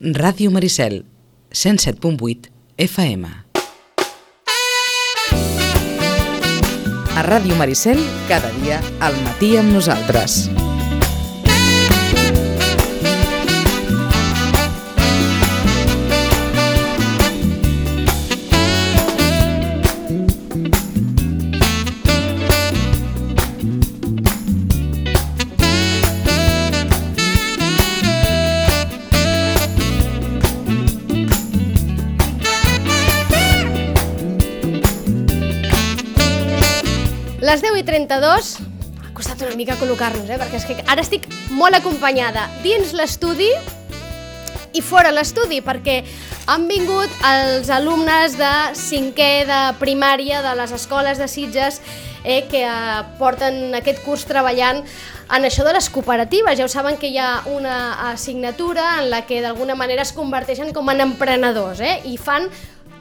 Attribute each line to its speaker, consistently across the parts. Speaker 1: Ràdio Maricel, 107.8 FM. A Ràdio Maricel, cada dia, al matí amb nosaltres.
Speaker 2: Les 10 i 32, ha costat una mica col·locar-nos, eh? perquè és que ara estic molt acompanyada dins l'estudi i fora l'estudi, perquè han vingut els alumnes de cinquè de primària de les escoles de Sitges eh, que eh, porten aquest curs treballant en això de les cooperatives. Ja ho saben que hi ha una assignatura en la que d'alguna manera es converteixen com en emprenedors eh, i fan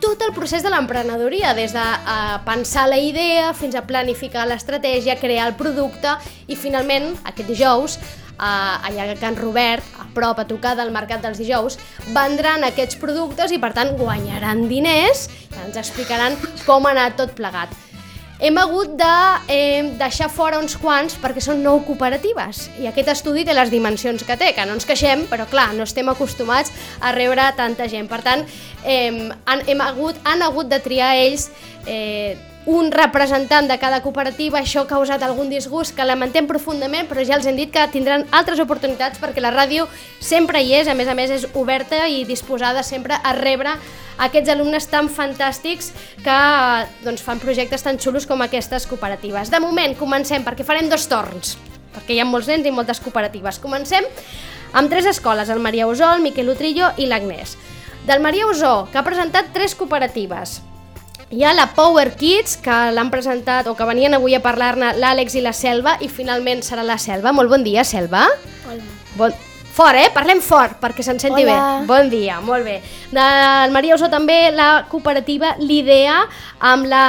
Speaker 2: tot el procés de l'emprenedoria, des de eh, pensar la idea fins a planificar l'estratègia, crear el producte i finalment, aquest dijous, eh, allà a Can Robert, a prop, a tocar del Mercat dels Dijous, vendran aquests productes i per tant guanyaran diners i ens explicaran com ha anat tot plegat. Hem hagut de eh, deixar fora uns quants perquè són nou cooperatives i aquest estudi té les dimensions que té, que no ens queixem, però clar, no estem acostumats a rebre tanta gent. Per tant, eh, han, hem hagut, han hagut de triar ells eh, un representant de cada cooperativa, això ha causat algun disgust que lamentem profundament, però ja els hem dit que tindran altres oportunitats perquè la ràdio sempre hi és, a més a més és oberta i disposada sempre a rebre aquests alumnes tan fantàstics que eh, doncs, fan projectes tan xulos com aquestes cooperatives. De moment, comencem, perquè farem dos torns, perquè hi ha molts nens i moltes cooperatives. Comencem amb tres escoles, el Maria Usó, el Miquel Utrillo i l'Agnès. Del Maria Usó, que ha presentat tres cooperatives, hi ha la Power Kids, que l'han presentat o que venien avui a parlar-ne l'Àlex i la Selva, i finalment serà la Selva. Molt bon dia, Selva.
Speaker 3: Hola.
Speaker 2: Bon... Fort, eh? Parlem fort, perquè se'n senti
Speaker 3: Hola.
Speaker 2: bé. Bon dia, molt bé. Del Maria Usó també la cooperativa L'Idea amb la...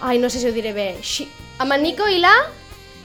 Speaker 2: Ai, no sé si ho diré bé. Xi... Amb el Nico i la...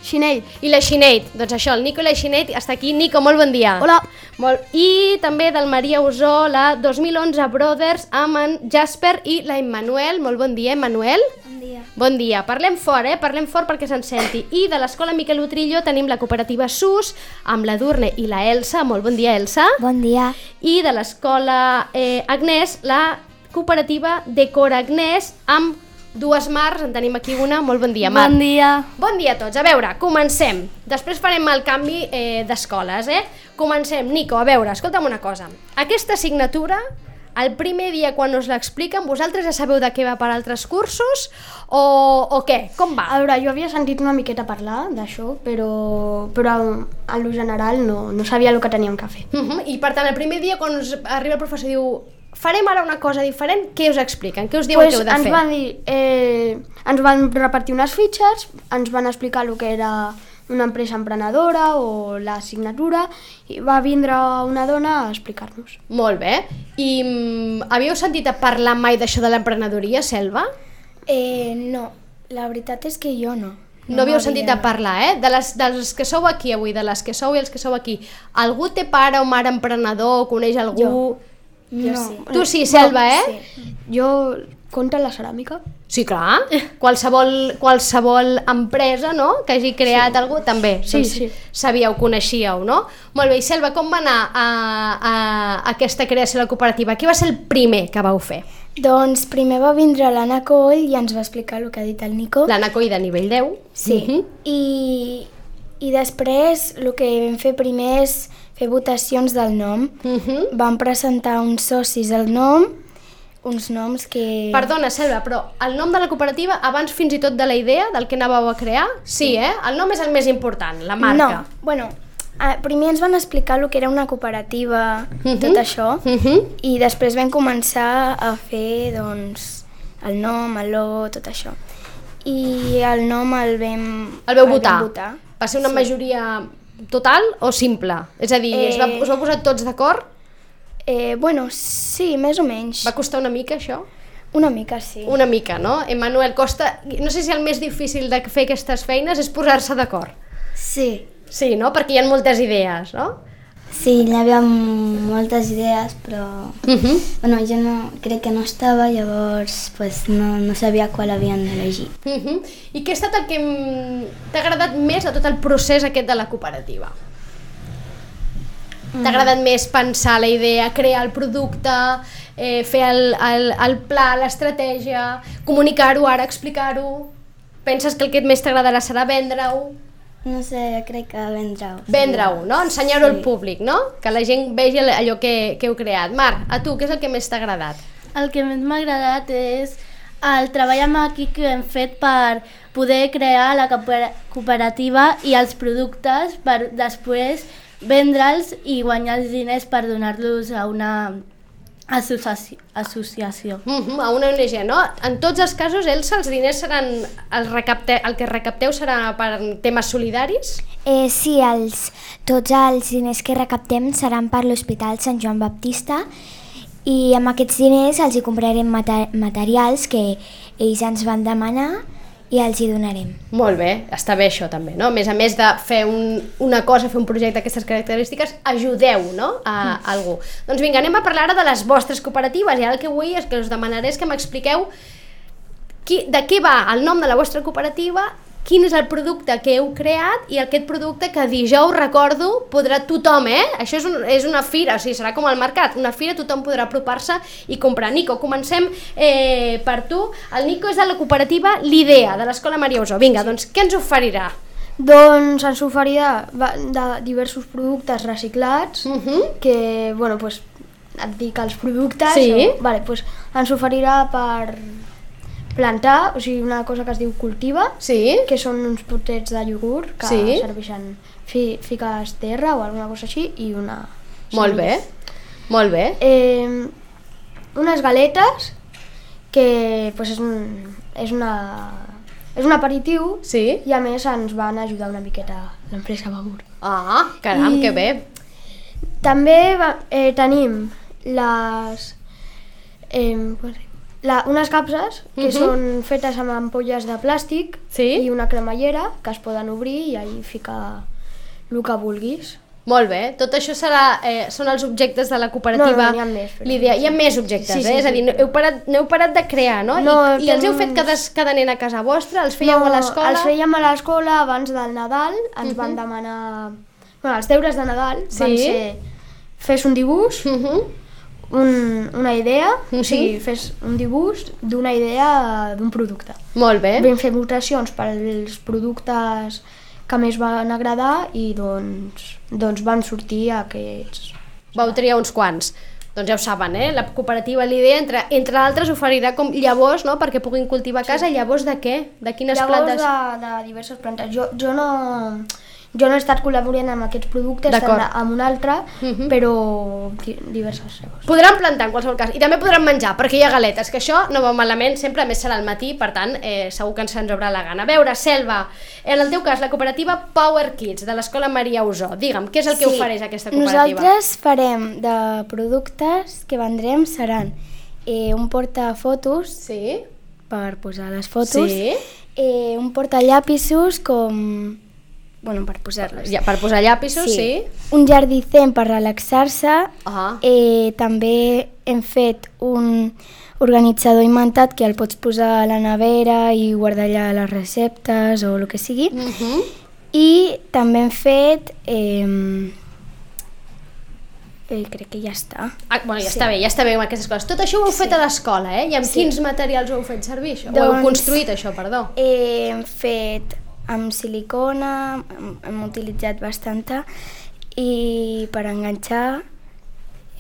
Speaker 3: Xinell.
Speaker 2: I la Xineid. Doncs això, el Nico i la Xineid està aquí. Nico, molt bon dia.
Speaker 3: Hola.
Speaker 2: Molt... I també del Maria Usó, la 2011 Brothers amb en Jasper i la Emmanuel. Molt bon dia, Emmanuel.
Speaker 3: Bon dia.
Speaker 2: Bon dia. Parlem fort, eh? Parlem fort perquè se'n senti. I de l'escola Miquel Utrillo tenim la cooperativa SUS amb la Durne i la Elsa. Molt bon dia, Elsa.
Speaker 3: Bon dia.
Speaker 2: I de l'escola eh, Agnès, la cooperativa Decora Agnès amb dues mars. En tenim aquí una. Molt bon dia, Mar.
Speaker 3: Bon dia.
Speaker 2: Bon dia a tots. A veure, comencem. Després farem el canvi eh, d'escoles, eh? Comencem. Nico, a veure, escolta'm una cosa. Aquesta assignatura, el primer dia quan us l'expliquen, vosaltres ja sabeu de què va per altres cursos o, o què? Com va?
Speaker 4: A veure, jo havia sentit una miqueta parlar d'això, però, però en, en lo general no, no sabia el que teníem que fer.
Speaker 2: Uh -huh. I per tant, el primer dia quan us arriba el professor i diu farem ara una cosa diferent, què us expliquen? Què us diuen que heu de
Speaker 4: ens
Speaker 2: fer?
Speaker 4: van dir, eh, ens van repartir unes fitxes, ens van explicar el que era una empresa emprenedora o la signatura, i va vindre una dona a explicar-nos.
Speaker 2: Molt bé. I mm, havíeu sentit a parlar mai d'això de l'emprenedoria, Selva?
Speaker 3: Eh, no, la veritat és que jo no.
Speaker 2: No havíeu sentit a parlar, eh? De les, dels que sou aquí avui, de les que sou i els que sou aquí. Algú té pare o mare emprenedor, o coneix algú?
Speaker 3: Jo no. sí.
Speaker 2: Tu sí, Selva, eh?
Speaker 4: Jo contra la ceràmica.
Speaker 2: Sí, clar. Qualsevol, qualsevol empresa, no?, que hagi creat sí. algú, també. Doncs
Speaker 4: Sí, sí.
Speaker 2: Sabíeu, coneixíeu, no? Molt bé, i Selva, com va anar a, a aquesta creació de la cooperativa? Què va ser el primer que vau fer?
Speaker 3: Doncs primer va vindre l'Anna Coll i ens va explicar el que ha dit el Nico.
Speaker 2: La Nacoi de nivell 10?
Speaker 3: Sí.
Speaker 2: Mhm.
Speaker 3: I, I després el que vam fer primer és fer votacions del nom.
Speaker 2: Mhm.
Speaker 3: Vam presentar uns socis el nom, uns noms que...
Speaker 2: Perdona, Selva, però el nom de la cooperativa, abans fins i tot de la idea del que anàveu a crear, sí, eh? El nom és el més important, la marca.
Speaker 3: No, bueno, eh, primer ens van explicar el que era una cooperativa,
Speaker 2: Mhm.
Speaker 3: tot això.
Speaker 2: Uh -huh.
Speaker 3: I després vam començar a fer, doncs, el nom, el logo, tot això. I el nom el vam...
Speaker 2: El veu votar.
Speaker 3: Vam votar.
Speaker 2: Va ser una sí. majoria total o simple? És a dir, eh... es va,
Speaker 3: Eh.
Speaker 2: us vau posar tots d'acord?
Speaker 3: Eh, bueno, sí, més o menys.
Speaker 2: Va costar una mica, això?
Speaker 3: Una mica, sí.
Speaker 2: Una mica, no? Emmanuel, costa... No sé si el més difícil de fer aquestes feines és posar-se d'acord.
Speaker 3: Sí.
Speaker 2: Sí, no? Perquè hi ha moltes idees, no?
Speaker 5: Sí, hi havia moltes idees, però...
Speaker 2: Uh -huh.
Speaker 5: Bueno, jo no, crec que no estava, llavors pues, no, no sabia qual havien d'elegir.
Speaker 2: Uh -huh. I què ha estat el que mm, t'ha agradat més de tot el procés aquest de la cooperativa? T'ha agradat més pensar la idea, crear el producte, eh, fer el, el, el pla, l'estratègia, comunicar-ho ara, explicar-ho... Penses que el que més t'agradarà serà vendre-ho?
Speaker 5: No sé, crec que vendrà-ho.
Speaker 2: Vendre-ho, no? Ensenyar-ho al públic, no? Que la gent vegi el- allò que, que heu creat. Mar, a tu, què és el que més t'ha agradat?
Speaker 6: El que més m'ha agradat és el treball amb equip que hem fet per poder crear la cooper- cooperativa i els productes per després vendre'ls i guanyar els diners per donar-los a una associaci- associació.
Speaker 2: Mhm, a una ONG, no? En tots els casos, Elsa, els diners seran... El, recapte, el que recapteu serà per temes solidaris?
Speaker 7: Eh, sí, els, tots els diners que recaptem seran per l'Hospital Sant Joan Baptista i amb aquests diners els hi comprarem mata materials que ells ens van demanar i els hi donarem.
Speaker 2: Molt bé, està bé això també, no? A més a més de fer un, una cosa, fer un projecte d'aquestes característiques, ajudeu, no?, a, a algú. Doncs vinga, anem a parlar ara de les vostres cooperatives i ara el que vull és que us demanaré és que m'expliqueu qui, de què va el nom de la vostra cooperativa, quin és el producte que heu creat i aquest producte que dijous, recordo, podrà tothom, eh? Això és, un, és una fira, o sigui, serà com el mercat, una fira, tothom podrà apropar-se i comprar. Nico, comencem eh, per tu. El Nico és de la cooperativa L'Idea, de l'Escola Maria Usó. Vinga, doncs què ens oferirà?
Speaker 8: Doncs ens oferirà va- de diversos productes reciclats
Speaker 2: Uh -huh.
Speaker 8: que, bueno, pues, et dic els productes.
Speaker 2: Sí.
Speaker 8: O, vale, pues, ens oferirà per plantar, o sigui, una cosa que es diu cultiva,
Speaker 2: Sí?
Speaker 8: que són uns potets de iogurt que
Speaker 2: Sí.
Speaker 8: serveixen fi, fiques terra o alguna cosa així i una...
Speaker 2: Molt bé, molt bé.
Speaker 8: Eh, unes galetes que pues, és, un, és, una, és un aperitiu
Speaker 2: Sí?
Speaker 8: i a més ens van ajudar una miqueta l'empresa Bagur.
Speaker 2: Ah, caram,
Speaker 8: I-
Speaker 2: que bé.
Speaker 8: També va, eh, tenim les... Eh, com es diu? la, unes capses que
Speaker 2: Mhm.
Speaker 8: són fetes amb ampolles de plàstic
Speaker 2: Sí?
Speaker 8: i una cremallera que es poden obrir i ahí ficar el que vulguis.
Speaker 2: Molt bé, tot això serà, eh, són els objectes de la cooperativa.
Speaker 8: No, no, n'hi ha més, però-
Speaker 2: L'idea, hi ha més objectes,
Speaker 8: Sí, sí,
Speaker 2: eh? És a
Speaker 8: sí.
Speaker 2: dir, no heu parat, no heu parat de crear, no?
Speaker 8: No,
Speaker 2: I, I els heu
Speaker 8: tenim-
Speaker 2: fet cada, cada nen a casa vostra? Els fèieu
Speaker 8: No,
Speaker 2: a l'escola? Mhm.
Speaker 8: Els fèiem a l'escola abans del Nadal, ens van demanar... Bueno, els deures de Nadal
Speaker 2: Sí.
Speaker 8: van ser fes un dibuix,
Speaker 2: Mhm.
Speaker 8: un, una idea,
Speaker 2: Mhm.
Speaker 8: o sigui, fes un dibuix d'una idea d'un producte.
Speaker 2: Molt bé.
Speaker 8: Vam fer votacions pels productes que més van agradar i doncs, doncs van sortir aquests.
Speaker 2: Vau triar uns quants. Doncs ja ho saben, eh? La cooperativa L'Idea, entre, entre altres, oferirà com llavors, no?, perquè puguin cultivar a casa. Llavors de què? De quines
Speaker 8: Llavors
Speaker 2: plantes?
Speaker 8: de, de diverses plantes. Jo, jo no... Jo no he estat col·laborant amb aquests productes, he estat
Speaker 2: D'acord.
Speaker 8: amb un altre,
Speaker 2: Mhm.
Speaker 8: però di- diverses llavors.
Speaker 2: Podran plantar en qualsevol cas i també podran menjar perquè hi ha galetes, que això no va malament, sempre a més serà al matí, per tant eh, segur que ens ens obrà la gana. A veure, Selva, eh, en el teu cas la cooperativa Power Kids de l'Escola Maria Usó, digue'm, què és el que
Speaker 5: Sí.
Speaker 2: ofereix aquesta cooperativa?
Speaker 5: Nosaltres farem de productes que vendrem seran eh, un portafotos
Speaker 2: Sí?
Speaker 5: per posar les fotos,
Speaker 2: Sí?
Speaker 5: eh, un portallàpisos com... Bueno, per posar-los.
Speaker 2: Ja, per posar llapisos, sí? sí?
Speaker 5: Un jardicent per relaxar-se.
Speaker 2: Ah.
Speaker 5: Eh, també hem fet un organitzador inventat que el pots posar a la nevera i guardar allà les receptes o el que sigui.
Speaker 2: Uh -huh.
Speaker 5: I també hem fet... Eh, eh, crec que ja està.
Speaker 2: ah, bueno, ja està bé, ja està bé amb aquestes coses. Tot això ho heu fet a l'escola, eh? I amb quins materials ho heu fet servir, això? Ho heu
Speaker 5: Doncs-
Speaker 2: construït, això, perdó.
Speaker 5: Eh, hem fet amb silicona, hem, hem utilitzat bastanta, i per enganxar...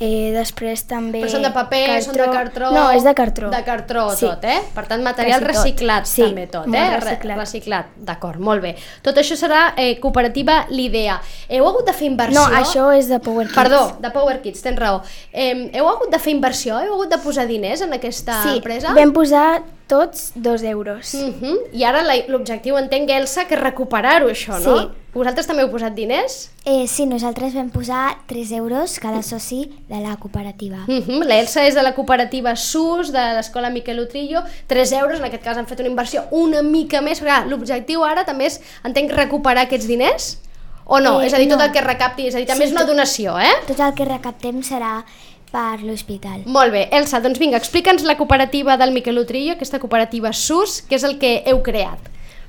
Speaker 5: Eh, després també...
Speaker 2: Però són de paper, són de cartró...
Speaker 5: No, és de cartró.
Speaker 2: De cartró,
Speaker 5: Sí.
Speaker 2: tot, eh? Per tant, material
Speaker 5: Quasi tot.
Speaker 2: reciclat,
Speaker 5: Sí,
Speaker 2: també tot,
Speaker 5: molt
Speaker 2: eh? Re-
Speaker 5: reciclat.
Speaker 2: reciclat. D'acord, molt bé. Tot això serà eh, cooperativa l'idea. Heu hagut de fer inversió...
Speaker 5: No, això és de Power Kids.
Speaker 2: Perdó, de Power Kids, tens raó. Eh, heu hagut de fer inversió? Heu hagut de posar diners en aquesta
Speaker 5: sí,
Speaker 2: empresa?
Speaker 5: vam posar tots dos euros.
Speaker 2: Mm I ara la- l'objectiu, entenc, Elsa, que és recuperar-ho, això, no?
Speaker 5: Sí.
Speaker 2: Vosaltres també heu posat diners?
Speaker 7: Eh, sí, nosaltres vam posar 3 euros cada soci de la cooperativa.
Speaker 2: Uh -huh. L'Elsa és de la cooperativa SUS, de l'escola Miquel Utrillo, 3 euros, en aquest cas han fet una inversió una mica més, perquè clar, l'objectiu ara també és, entenc, recuperar aquests diners O no?
Speaker 8: Eh,
Speaker 2: és a dir, tot
Speaker 8: no.
Speaker 2: el que recapti, és a dir, també
Speaker 8: Sí,
Speaker 2: és una
Speaker 8: tot-
Speaker 2: donació, eh?
Speaker 8: Tot el que recaptem serà per l'hospital.
Speaker 2: Molt bé, Elsa, doncs vinga, explica'ns la cooperativa del Miquel Utrillo, aquesta cooperativa SUS, que és el que heu creat.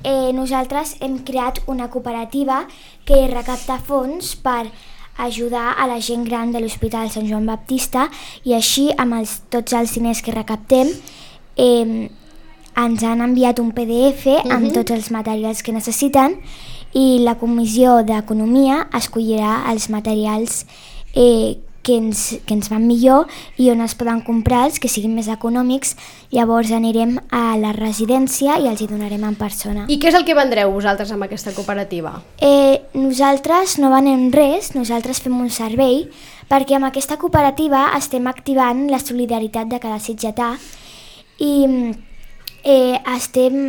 Speaker 8: Eh, nosaltres hem creat una cooperativa que recapta fons per ajudar a la gent gran de l'Hospital Sant Joan Baptista i així amb els, tots els diners que recaptem eh, ens han enviat un PDF amb tots els materials que necessiten i la Comissió d'Economia escollirà els materials eh, que, ens, que ens van millor i on es poden comprar els que siguin més econòmics. Llavors anirem a la residència i els hi donarem en persona.
Speaker 2: I què és el que vendreu vosaltres amb aquesta cooperativa?
Speaker 8: Eh, nosaltres no venem res, nosaltres fem un servei, perquè amb aquesta cooperativa estem activant la solidaritat de cada sitgetà i mm, eh, estem,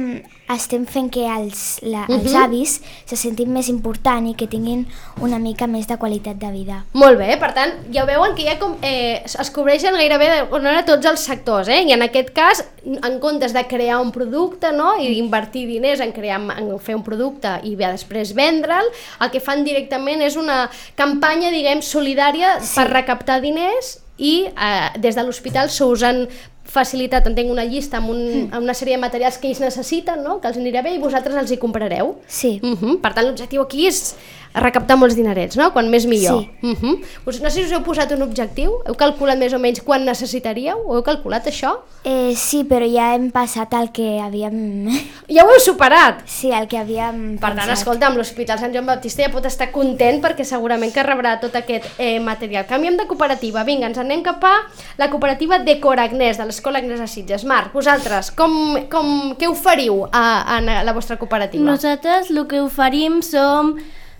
Speaker 8: estem fent que els, la, els
Speaker 3: Mhm.
Speaker 8: avis se sentin més important i que tinguin una mica més de qualitat de vida.
Speaker 2: Molt bé, per tant, ja veuen que ja com, eh, es cobreixen gairebé de, on era tots els sectors, eh? i en aquest cas, en comptes de crear un producte no? i invertir diners en, crear, en fer un producte i bé, després vendre'l, el que fan directament és una campanya, diguem, solidària sí. per recaptar diners i eh, des de l'hospital se us han facilitat, entenc, una llista amb, un, amb una sèrie de materials que ells necessiten, no? que els anirà bé i vosaltres els hi comprareu.
Speaker 8: Sí.
Speaker 2: Mhm, Per tant, l'objectiu aquí és recaptar molts dinerets, no? Quan més millor.
Speaker 8: Sí.
Speaker 2: Mhm. Us- No sé si us heu posat un objectiu, heu calculat més o menys quan necessitaríeu, ho heu calculat això?
Speaker 8: Eh, sí, però ja hem passat el que havíem...
Speaker 2: Ja ho heu superat!
Speaker 8: Sí, el que havíem
Speaker 2: Per tant, escolta, amb l'Hospital Sant Joan Baptista ja pot estar content perquè segurament que rebrà tot aquest eh, material. Canviem de cooperativa, vinga, ens anem cap a la cooperativa de Coragnès, de l'Escola Agnès de Sitges. Marc, vosaltres, com, com, què oferiu a, a la vostra cooperativa?
Speaker 6: Nosaltres el que oferim som,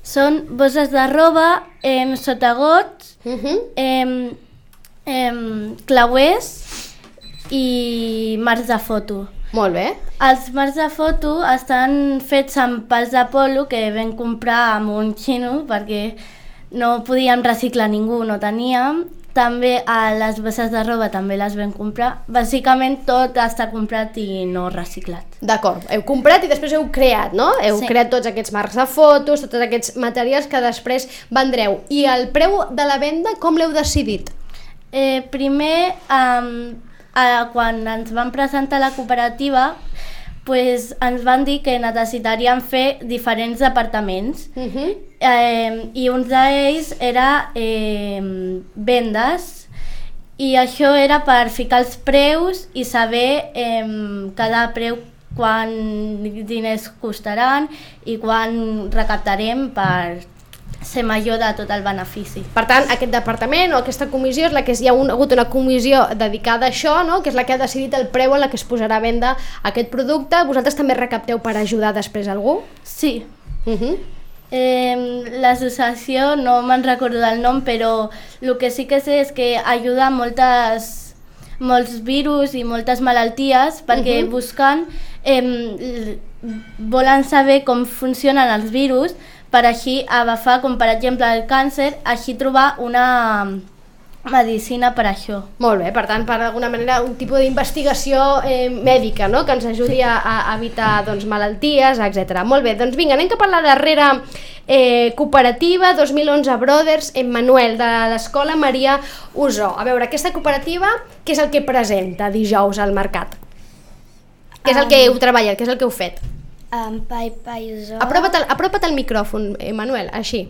Speaker 6: són bosses de roba, em, sotagots,
Speaker 2: Mhm.
Speaker 6: em, em, clauers i marcs de foto.
Speaker 2: Molt bé.
Speaker 6: Els marcs de foto estan fets amb pals de polo que vam comprar amb un xino perquè no podíem reciclar ningú, no teníem. També a les bosses de roba també les vam comprar. Bàsicament tot està comprat i no reciclat.
Speaker 2: D'acord, heu comprat i després heu creat, no? Heu
Speaker 6: Sí.
Speaker 2: creat tots aquests marcs de fotos, tots aquests materials que després vendreu. I el preu de la venda, com l'heu decidit?
Speaker 6: Eh, primer, um, a, quan ens van presentar la cooperativa, pues, ens van dir que necessitaríem fer diferents departaments
Speaker 2: Uh -huh.
Speaker 6: eh, i un d'ells era eh, vendes i això era per ficar els preus i saber eh, cada preu quan diners costaran i quan recaptarem per ser major de tot el benefici.
Speaker 2: Per tant, aquest departament o aquesta comissió és la que hi ha un, hagut una comissió dedicada a això, no? que és la que ha decidit el preu en la que es posarà a venda aquest producte. Vosaltres també recapteu per ajudar després algú?
Speaker 6: Sí,
Speaker 2: Uh -huh.
Speaker 6: Eh, L'associació, no me'n recordo del nom, però el que sí que sé és que ajuda a moltes, molts virus i moltes malalties perquè uh -huh. busquen, eh, volen saber com funcionen els virus per així agafar, com per exemple el càncer, així trobar una medicina per això.
Speaker 2: Molt bé, per tant, per alguna manera, un tipus d'investigació eh, mèdica, no?, que ens ajudi a, a evitar doncs, malalties, etc. Molt bé, doncs vinga, anem cap a la darrera eh, cooperativa, 2011 Brothers, en Manuel, de l'escola Maria Usó. A veure, aquesta cooperativa, què és el que presenta dijous al mercat? Què és el que heu treballat, què és el que heu fet?
Speaker 9: Amb Pai Pai Usó.
Speaker 2: Apropa't al, apropa't al micròfon, eh, Manuel, així.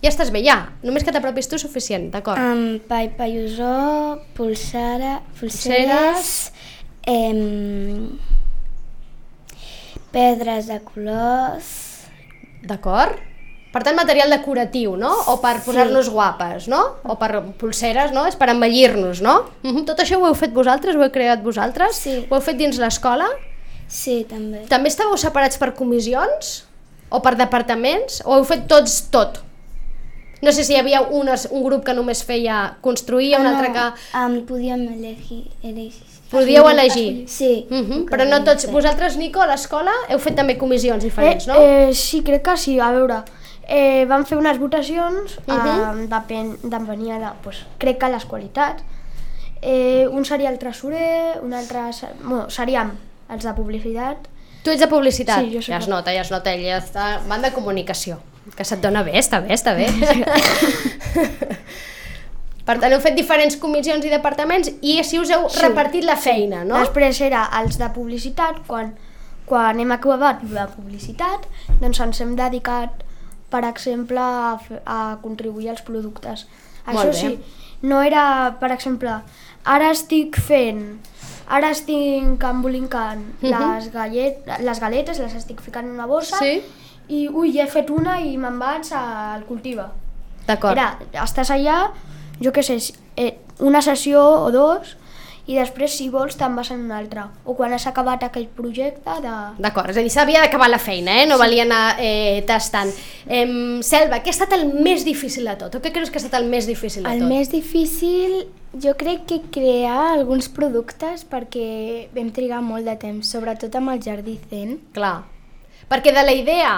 Speaker 2: Ja estàs bé, ja. Només que t'apropis tu és suficient, d'acord?
Speaker 9: Amb Pai Pai Usó, pulsara,
Speaker 2: Polseres.
Speaker 9: pulseres, em, pedres de colors,
Speaker 2: D'acord? Per tant, material decoratiu, no? O per posar-nos guapes, no? O per pulseres, no? És per embellir-nos, no? Mhm, Tot això ho heu fet vosaltres, ho heu creat vosaltres?
Speaker 9: Sí.
Speaker 2: Ho heu fet dins l'escola?
Speaker 9: sí, també.
Speaker 2: També estàveu separats per comissions? O per departaments? O heu fet tots tot? No sé si hi havia unes, un grup que només feia construir, un altre que...
Speaker 9: Em Ah, podíem elegir, elegir.
Speaker 2: Podíeu elegir.
Speaker 9: Ah, Sí.
Speaker 2: Mhm, Però no tots. Vosaltres, Nico, a l'escola heu fet també comissions diferents, no?
Speaker 4: Eh, eh, sí, crec que sí. A veure, eh, van fer unes votacions, uh
Speaker 2: Mhm.
Speaker 4: -huh. depèn, d'en venia de, pues, crec que les qualitats. Eh, un seria el tresorer, un altre... se- Bueno, seríem els de publicitat.
Speaker 2: Tu ets de publicitat?
Speaker 4: Sí, jo soc
Speaker 2: ja es
Speaker 4: de-
Speaker 2: nota, ja es nota, ell ja està... Van de comunicació. Que se't dona bé, està bé, està bé. per tant, heu fet diferents comissions i departaments i així us heu repartit la feina, no?
Speaker 4: Després era els de publicitat, quan, quan hem acabat la publicitat, doncs ens hem dedicat, per exemple, a, fer- a contribuir als productes.
Speaker 2: Molt
Speaker 4: Això
Speaker 2: bé.
Speaker 4: sí, no era, per exemple, ara estic fent ara estic embolincant
Speaker 2: Mhm.
Speaker 4: les, gallet, les galetes, les estic ficant en una bossa
Speaker 2: Sí.
Speaker 4: i ui, he fet una i me'n vaig al cultiva.
Speaker 2: D'acord.
Speaker 4: Era, estàs allà, jo què sé, si- eh, una sessió o dos, i després, si vols, te'n vas en una altra. O quan has acabat aquell projecte de...
Speaker 2: D'acord, és a dir, s'havia d'acabar la feina, eh? no valia anar eh, tastant. Em, Selva, què ha estat el més difícil de tot? O què creus que ha estat el més difícil de
Speaker 9: El
Speaker 2: tot?
Speaker 9: més difícil jo crec que crear alguns productes perquè vam trigar molt de temps, sobretot amb el jardí zen.
Speaker 2: Clar, perquè de la idea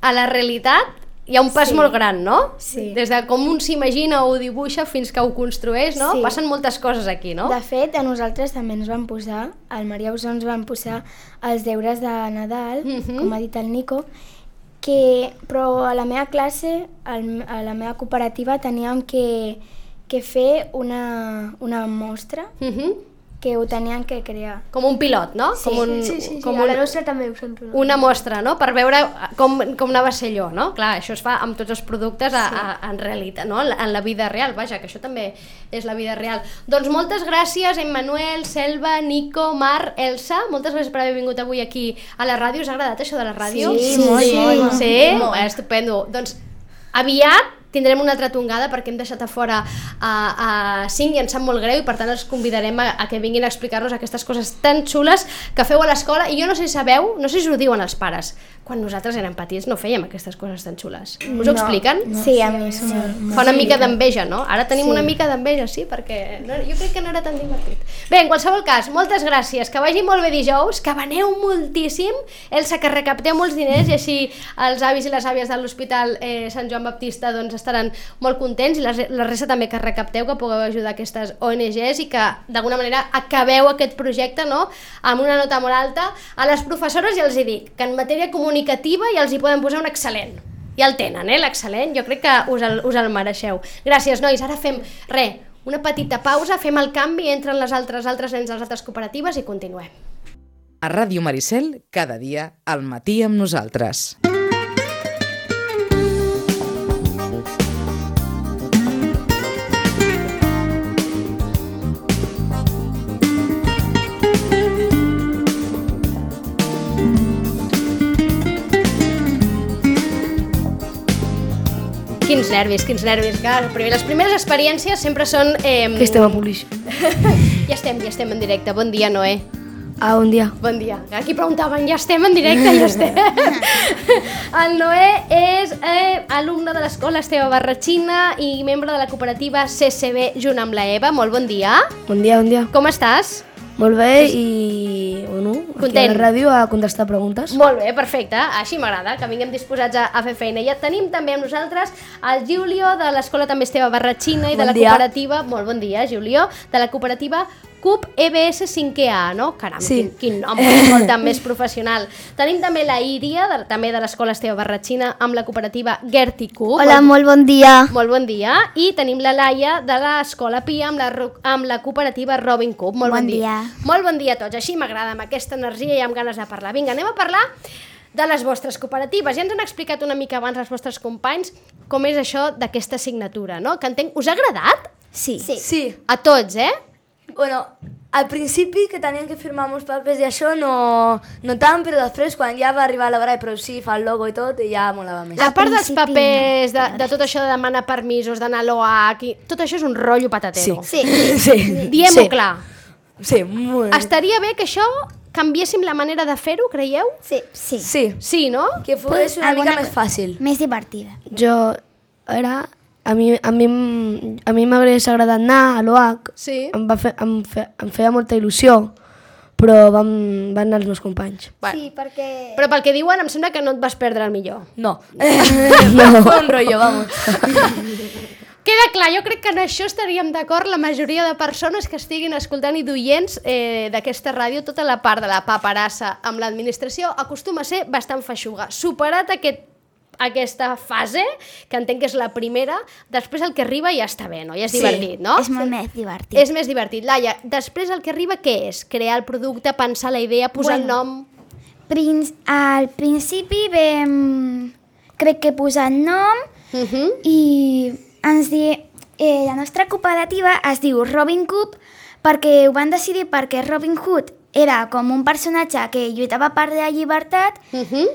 Speaker 2: a la realitat hi ha un pas sí. molt gran, no?
Speaker 9: Sí.
Speaker 2: Des de com un s'imagina o ho dibuixa fins que ho construeix, no?
Speaker 9: Sí.
Speaker 2: Passen moltes coses aquí, no?
Speaker 9: De fet, a nosaltres també ens van posar, al Maria Usó ens van posar els deures de Nadal,
Speaker 2: Mhm.
Speaker 9: com ha dit el Nico, que, però a la meva classe, al, a la meva cooperativa, teníem que, que fer una, una mostra
Speaker 2: Uh -huh.
Speaker 9: que ho tenien que crear.
Speaker 2: Com un pilot, no?
Speaker 9: Sí,
Speaker 2: com un,
Speaker 4: Sí, sí, sí,
Speaker 2: com
Speaker 4: sí a la
Speaker 2: un-
Speaker 4: nostra també ho sento. no?
Speaker 2: una mostra, no? Per veure eh, com, com anava a ser allò, no? Clar, això es fa amb tots els productes a, a, en realitat, no? En la- En la vida real, vaja, que això també és la vida real. Doncs moltes gràcies, Emmanuel, Selva, Nico, Mar, Elsa, moltes gràcies per haver vingut avui aquí a la ràdio. Us ha agradat això de la ràdio?
Speaker 9: Sí, Sí, molt, sí. molt.
Speaker 2: Sí? Estupendo. Doncs aviat tindrem una altra tongada perquè hem deixat a fora a, a 5 i ens sap molt greu i per tant els convidarem a, a que vinguin a explicar-nos aquestes coses tan xules que feu a l'escola i jo no sé si sabeu, no sé si us ho diuen els pares quan nosaltres érem petits no fèiem aquestes coses tan xules us ho expliquen?
Speaker 9: Sí, a mi sí.
Speaker 2: Fa una mica d'enveja, no? Ara tenim una mica d'enveja, sí, perquè no, jo crec que no era tan divertit. Bé, en qualsevol cas, moltes gràcies, que vagi molt bé dijous, que veneu moltíssim, Elsa, que recapteu molts diners i així els avis i les àvies de l'Hospital eh, Sant Joan Baptista doncs, estaran molt contents i la, re- la resta també que recapteu, que pugueu ajudar aquestes ONGs i que d'alguna manera acabeu aquest projecte no? amb una nota molt alta. A les professores ja els hi dic que en matèria comunicativa ja els hi poden posar un excel·lent. Ja el tenen, eh, l'excel·lent. Jo crec que us el, us el mereixeu. Gràcies, nois. Ara fem, re, una petita pausa, fem el canvi, entren les altres, altres nens de les altres cooperatives i continuem.
Speaker 1: A Ràdio Maricel, cada dia, al matí amb nosaltres.
Speaker 2: Quins nervis, quins nervis. Clar, primer, les primeres experiències sempre són... Eh,
Speaker 10: Que estem a Publish.
Speaker 2: Ja estem, ja estem en directe. Bon dia, Noé.
Speaker 10: Ah, bon dia.
Speaker 2: Bon dia. Aquí preguntaven, ja estem en directe, ja estem. El Noé és eh, alumne de l'escola Esteve Barratxina i membre de la cooperativa CCB junt amb la Eva. Molt bon dia.
Speaker 10: Bon dia, bon dia.
Speaker 2: Com estàs?
Speaker 10: Molt bé i, bueno, aquí a
Speaker 2: Content.
Speaker 10: la ràdio a contestar preguntes.
Speaker 2: Molt bé, perfecte. Així m'agrada, que vinguem disposats a, a fer feina. Ja tenim també amb nosaltres el Giulio de l'escola també Esteve Barratxina i de
Speaker 10: Bon
Speaker 2: la
Speaker 10: dia.
Speaker 2: cooperativa... Molt bon dia, Giulio. De la cooperativa CUP E EBS 5A, no? Caram,
Speaker 10: Sí.
Speaker 2: quin, quin nom, molt tan més professional. Tenim també la Íria, de, també de l'escola Esteve Barratxina, amb la cooperativa Gerti CUP.
Speaker 3: Hola, molt bon dia.
Speaker 2: Molt bon dia. I tenim la Laia de l'Escola Pia amb la, ro- amb la cooperativa Robin Cup. Molt bon,
Speaker 3: Bon
Speaker 2: dia.
Speaker 3: dia.
Speaker 2: Molt bon dia a tots. Així m'agrada, amb aquesta energia i amb ganes de parlar. Vinga, anem a parlar de les vostres cooperatives. Ja ens han explicat una mica abans els vostres companys com és això d'aquesta assignatura, no? Que entenc... Us ha agradat?
Speaker 3: Sí.
Speaker 10: Sí,
Speaker 2: A tots, eh?
Speaker 10: bueno, al principi que tenien que firmar molts papers i això no, no tant, però després quan ja va arribar l'hora de producir, fa el logo i tot, i ja molava més.
Speaker 2: A part dels papers, de, de tot això de demanar permisos, d'anar a l'OAC... i- Tot això és un rotllo patatero.
Speaker 10: Sí. sí.
Speaker 2: Diem-ho clar.
Speaker 10: Sí, molt bé.
Speaker 2: Estaria bé que això canviéssim la manera de fer-ho, creieu?
Speaker 3: Sí. Sí.
Speaker 10: Sí,
Speaker 2: Sí, no?
Speaker 10: que fos una
Speaker 3: alguna
Speaker 10: mica més fàcil.
Speaker 3: Més divertida.
Speaker 10: Jo era... A mi, a mi, m- a mi m'hagués agradat anar a l'OAC.
Speaker 2: Sí.
Speaker 10: Em, va fer, em, fe, em feia molta il·lusió, però van, van anar els meus companys.
Speaker 2: Bueno.
Speaker 3: Sí, perquè...
Speaker 2: Però pel que diuen, em sembla que no et vas perdre el millor.
Speaker 10: No. no. Fue un rollo, vamos.
Speaker 2: Queda clar, jo crec que en això estaríem d'acord la majoria de persones que estiguin escoltant i d'oients eh, d'aquesta ràdio, tota la part de la paperassa amb l'administració acostuma a ser bastant feixuga. Superat aquest aquesta fase, que entenc que és la primera, després el que arriba ja està bé, no? Ja és
Speaker 8: Sí,
Speaker 2: divertit, no?
Speaker 8: És molt més divertit.
Speaker 2: És més divertit. Laia, després el que arriba què és? Crear el producte, pensar la idea, posar bueno. el nom...
Speaker 8: Princ- al principi vam... Crec que posar el nom
Speaker 2: Uh -huh.
Speaker 8: i ens di... Eh, la nostra cooperativa es diu Robin Hood perquè ho van decidir perquè Robin Hood era com un personatge que lluitava per la llibertat
Speaker 2: Uh -huh.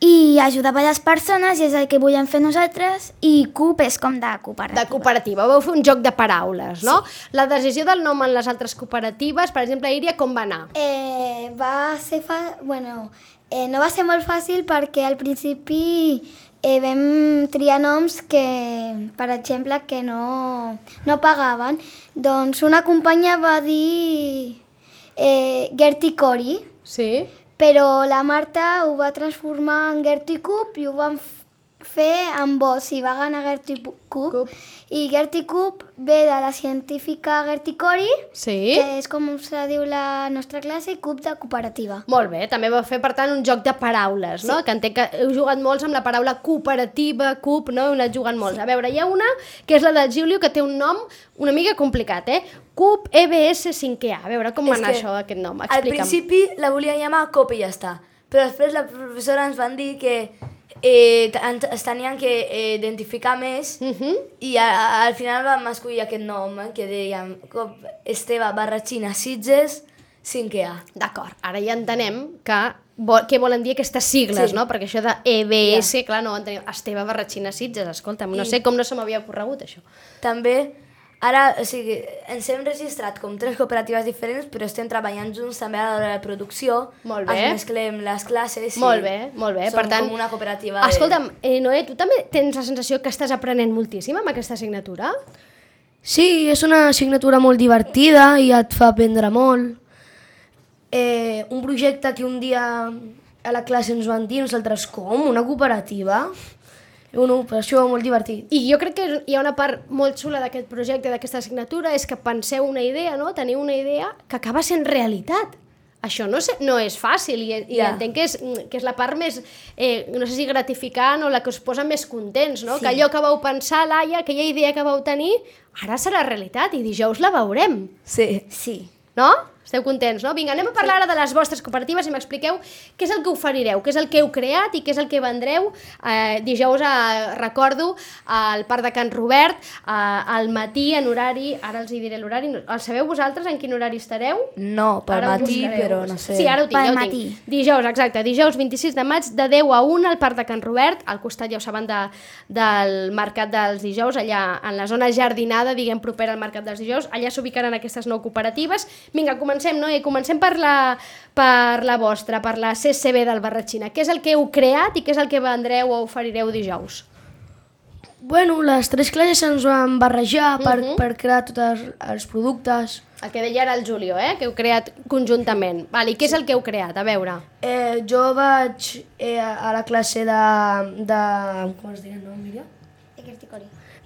Speaker 8: i ajudava les persones i és el que volem fer nosaltres i CUP és com de cooperativa.
Speaker 2: De cooperativa. Vau fer un joc de paraules, no? Sí. La decisió del nom en les altres cooperatives, per exemple, Iria, com va anar?
Speaker 9: Eh, va ser fa... bueno, eh, no va ser molt fàcil perquè al principi eh, vam triar noms que, per exemple, que no, no pagaven. Doncs una companya va dir eh, Gertie Cori,
Speaker 2: Sí.
Speaker 9: però la Marta ho va transformar en Gertie Cup i ho van f- fer amb vos i va ganar Gertie Pu- Cup.
Speaker 2: Cup.
Speaker 9: I Gertie Cup ve de la científica Gertie Cori,
Speaker 2: Sí?
Speaker 9: que és com se diu la nostra classe, CUP de cooperativa.
Speaker 2: Molt bé, també va fer, per tant, un joc de paraules, no? Que entenc que heu jugat molts amb la paraula cooperativa, cup, no? Heu anat jugant molts. A veure, hi ha una, que és la del Giulio, que té un nom una mica complicat, eh? Cup EBS 5A. E A veure, com va
Speaker 10: És
Speaker 2: anar
Speaker 10: que
Speaker 2: això, aquest nom?
Speaker 10: Al
Speaker 2: Explica'm.
Speaker 10: principi la volien llamar Copa i ja està. Però després la professora ens van dir que eh, t- ens ens tenien que eh, identificar més
Speaker 2: Mhm.
Speaker 10: i a, a, al final vam escollir aquest nom eh, que dèiem Cop Esteve Barratxina Sitges 5A.
Speaker 2: D'acord, ara ja entenem que vo- què volen dir aquestes sigles,
Speaker 10: Sí.
Speaker 2: no? Perquè això de EBS, clar, no ho entenem. Esteve Barratxina Sitges, escolta'm, no
Speaker 10: I-
Speaker 2: sé com no se m'havia ocorregut això.
Speaker 10: També, ara, o sigui, ens hem registrat com tres cooperatives diferents, però estem treballant junts també a l'hora de producció.
Speaker 2: Molt bé.
Speaker 10: Ens mesclem les classes. i
Speaker 2: Molt bé, molt bé.
Speaker 10: Som
Speaker 2: per tant,
Speaker 10: com una cooperativa. de-
Speaker 2: Escolta'm, eh, Noé, tu també tens la sensació que estàs aprenent moltíssim amb aquesta assignatura?
Speaker 11: Sí, és una assignatura molt divertida i et fa aprendre molt. Eh, un projecte que un dia a la classe ens van dir nosaltres com, una cooperativa. Una operació molt divertit.
Speaker 2: I jo crec que hi ha una part molt xula d'aquest projecte, d'aquesta assignatura, és que penseu una idea, no? Teniu una idea que acaba sent realitat. Això no, sé, no és fàcil i, i
Speaker 10: Ja.
Speaker 2: entenc que és, que és la part més, eh, no sé si gratificant o la que us posa més contents, no? Sí. Que allò que vau pensar, Laia, aquella idea que vau tenir, ara serà realitat i dijous la veurem.
Speaker 10: Sí.
Speaker 8: Sí.
Speaker 2: No? Esteu contents, no? Vinga, anem a parlar ara de les vostres cooperatives i m'expliqueu què és el que oferireu, què és el que heu creat i què és el que vendreu eh, dijous, eh, recordo, al Parc de Can Robert, eh, al matí, en horari, ara els hi diré l'horari, no- el sabeu vosaltres en quin horari estareu?
Speaker 10: No, pel
Speaker 2: Ara ho
Speaker 10: matí,
Speaker 2: buscareu.
Speaker 10: però no sé.
Speaker 2: Sí, ara ho tinc,
Speaker 8: Pel
Speaker 2: ja ho
Speaker 8: matí.
Speaker 2: tinc. Dijous, exacte, dijous 26 de maig, de 10 a 1 al Parc de Can Robert, al costat, ja ho saben, de, del Mercat dels Dijous, allà en la zona jardinada, diguem, propera al Mercat dels Dijous, allà s'ubicaran aquestes nou cooperatives. Vinga, comencem, no? I comencem per la, per la vostra, per la CCB del Barratxina. Què és el que heu creat i què és el que vendreu o oferireu dijous?
Speaker 11: Bueno, les tres classes ens van barrejar per,
Speaker 10: Mhm.
Speaker 11: per crear tots els productes.
Speaker 2: El que deia ara el Julio, eh? Que heu creat conjuntament. Vale, I què és el que heu creat? A veure.
Speaker 11: Eh, jo vaig eh, a la classe de... de com es deia el nom, Míriam?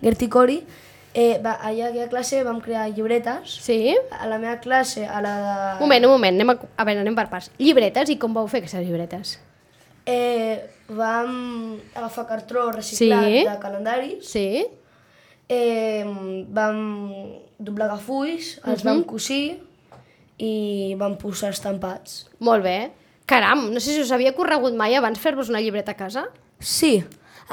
Speaker 11: Gerticori. Eh, va, allà a aquella classe vam crear llibretes.
Speaker 2: Sí?
Speaker 11: A la meva classe, a la de...
Speaker 2: Un moment, un moment, anem a, a veure, anem per parts. Llibretes, i com vau fer aquestes llibretes?
Speaker 11: Eh, vam agafar cartró reciclat
Speaker 2: Sí.
Speaker 11: de calendaris.
Speaker 2: Sí?
Speaker 11: Eh, vam doblegar fulls, els
Speaker 10: Mhm.
Speaker 11: vam cosir i vam posar estampats.
Speaker 2: Molt bé. Caram, no sé si us havia corregut mai abans fer-vos una llibreta a casa.
Speaker 10: Sí.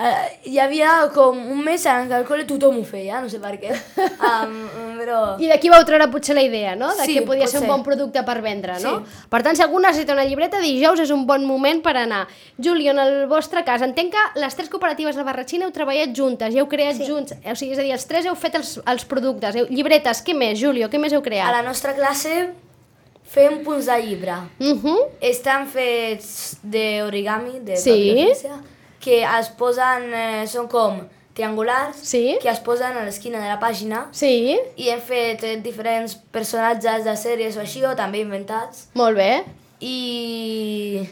Speaker 10: Eh, hi havia com un mes en què al col·le tothom ho feia, no sé per què. Um, però...
Speaker 2: I d'aquí vau treure potser la idea, no? De
Speaker 10: Sí,
Speaker 2: que podia
Speaker 10: pot
Speaker 2: ser un
Speaker 10: ser.
Speaker 2: bon producte per vendre, no? Per tant, si algú necessita una llibreta, dijous és un bon moment per anar. Juli, en el vostre cas, entenc que les tres cooperatives de Barratxina heu treballat juntes i heu creat sí. junts. O sigui, és a dir, els tres heu fet els, els productes. Heu, llibretes, què més, Julio? Què més heu
Speaker 10: A
Speaker 2: creat?
Speaker 10: la nostra classe fem punts de llibre.
Speaker 2: Mhm.
Speaker 10: Estan fets d'origami, de
Speaker 2: Sí.
Speaker 10: paper ofensa, que es posen, eh, són com triangulars,
Speaker 2: Sí.
Speaker 10: que es posen a l'esquina de la pàgina
Speaker 2: Sí,
Speaker 10: i hem fet eh, diferents personatges de sèries o així, o també inventats.
Speaker 2: molt bé.
Speaker 10: i,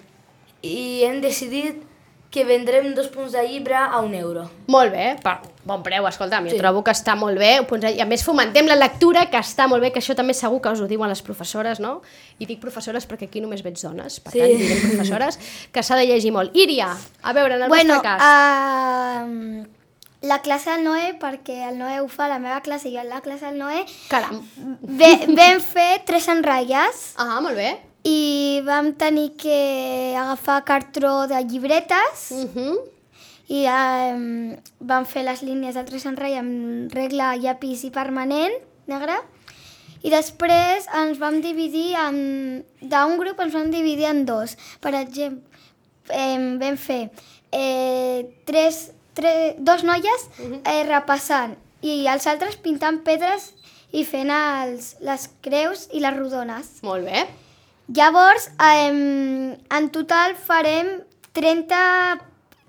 Speaker 10: i hem decidit que vendrem dos punts de llibre a un euro.
Speaker 2: Molt bé, pa, bon preu, escolta'm, jo trobo que està molt bé, ho pots- i a més fomentem la lectura, que està molt bé, que això també segur que us ho diuen les professores, no? I dic professores perquè aquí només veig dones, per tant, direm professores, que s'ha de llegir molt. Iria, a veure, en el
Speaker 9: Bueno, ah,
Speaker 2: vostre cas...
Speaker 9: ehm, la classe del Noé, perquè el Noé ho fa a la meva classe i jo a la classe del Noé,
Speaker 2: Caram.
Speaker 9: ve, vam fer tres enratlles
Speaker 2: Ah, molt bé.
Speaker 9: i vam tenir que agafar cartró de llibretes
Speaker 2: Uh -huh.
Speaker 9: i um, vam fer les línies del tres enrere amb regla, llapis i permanent negre. I després ens vam dividir en... D'un grup ens vam dividir en dos. Per exemple, em, vam fer eh, tres, tre, dos noies eh, repassant i els altres pintant pedres i fent els, les creus i les rodones.
Speaker 2: Molt bé.
Speaker 9: Llavors, em, en total farem 30,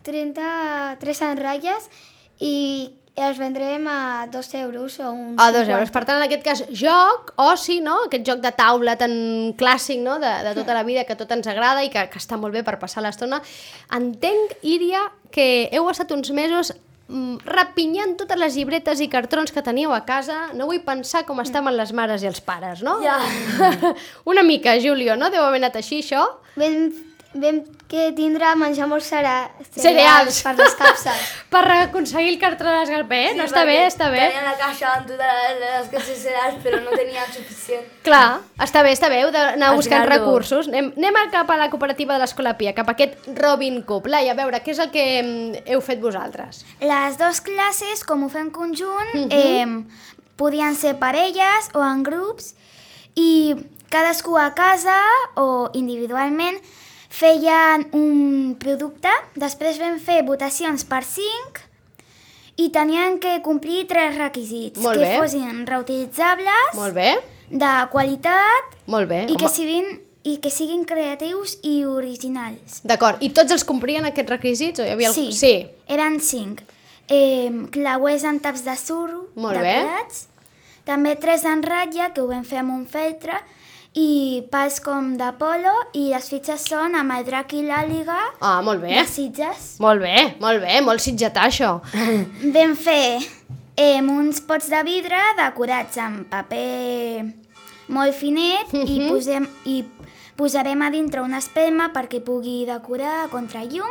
Speaker 9: 33 enratlles i els vendrem a 2 euros o un
Speaker 2: A dos
Speaker 9: 50.
Speaker 2: euros. Per tant, en aquest cas, joc, oci, no? Aquest joc de taula tan clàssic, no? De, de tota la vida, que tot ens agrada i que, que està molt bé per passar l'estona. Entenc, Iria, que heu estat uns mesos mm, rapinyant totes les llibretes i cartrons que teníeu a casa. No vull pensar com estaven les mares i els pares, no? Ja. Una mica, Julio, no? Deu haver anat així, això?
Speaker 9: Vam, vam que tindre menjar molts cere
Speaker 2: Cereals.
Speaker 9: cereals per les capses.
Speaker 2: Per aconseguir el cartró de l'esgarper, eh? no està bé, està bé.
Speaker 10: Tenien la caixa amb totes les coses seràs, però no tenien suficient.
Speaker 2: Clar, està bé, està bé, heu d'anar
Speaker 10: Els
Speaker 2: buscant
Speaker 10: gatos.
Speaker 2: recursos. Anem, anem a- cap a la cooperativa de l'Escola Pia, cap a aquest Robin Cup. Laia, a veure, què és el que mm, heu fet vosaltres?
Speaker 8: Les dues classes, com ho fem conjunt, eh, podien ser parelles o en grups i cadascú a casa o individualment feien un producte, després vam fer votacions per 5 i tenien que complir tres requisits,
Speaker 2: Molt
Speaker 8: que
Speaker 2: bé.
Speaker 8: fossin reutilitzables,
Speaker 2: Molt bé,
Speaker 8: de qualitat
Speaker 2: molt bé.
Speaker 8: i que,
Speaker 2: Home,
Speaker 8: siguin, i que siguin creatius i originals.
Speaker 2: D'acord, i tots els complien aquests requisits? O hi havia
Speaker 8: Sí.
Speaker 2: algú? sí.
Speaker 8: Eren cinc. Eh, clauers en taps de suro,
Speaker 2: Molt bé.
Speaker 8: decorats. També tres en ratlla, que ho vam fer amb un feltre, i pals com de polo, i les fitxes són amb el drac i l'àliga,
Speaker 2: Ah, molt bé.
Speaker 8: de sitges.
Speaker 2: Molt bé, molt bé, molt sitgetà, això.
Speaker 8: Vam fer eh, uns pots de vidre decorats amb paper molt finet i, posem, i posarem a dintre una espelma perquè pugui decorar contra llum.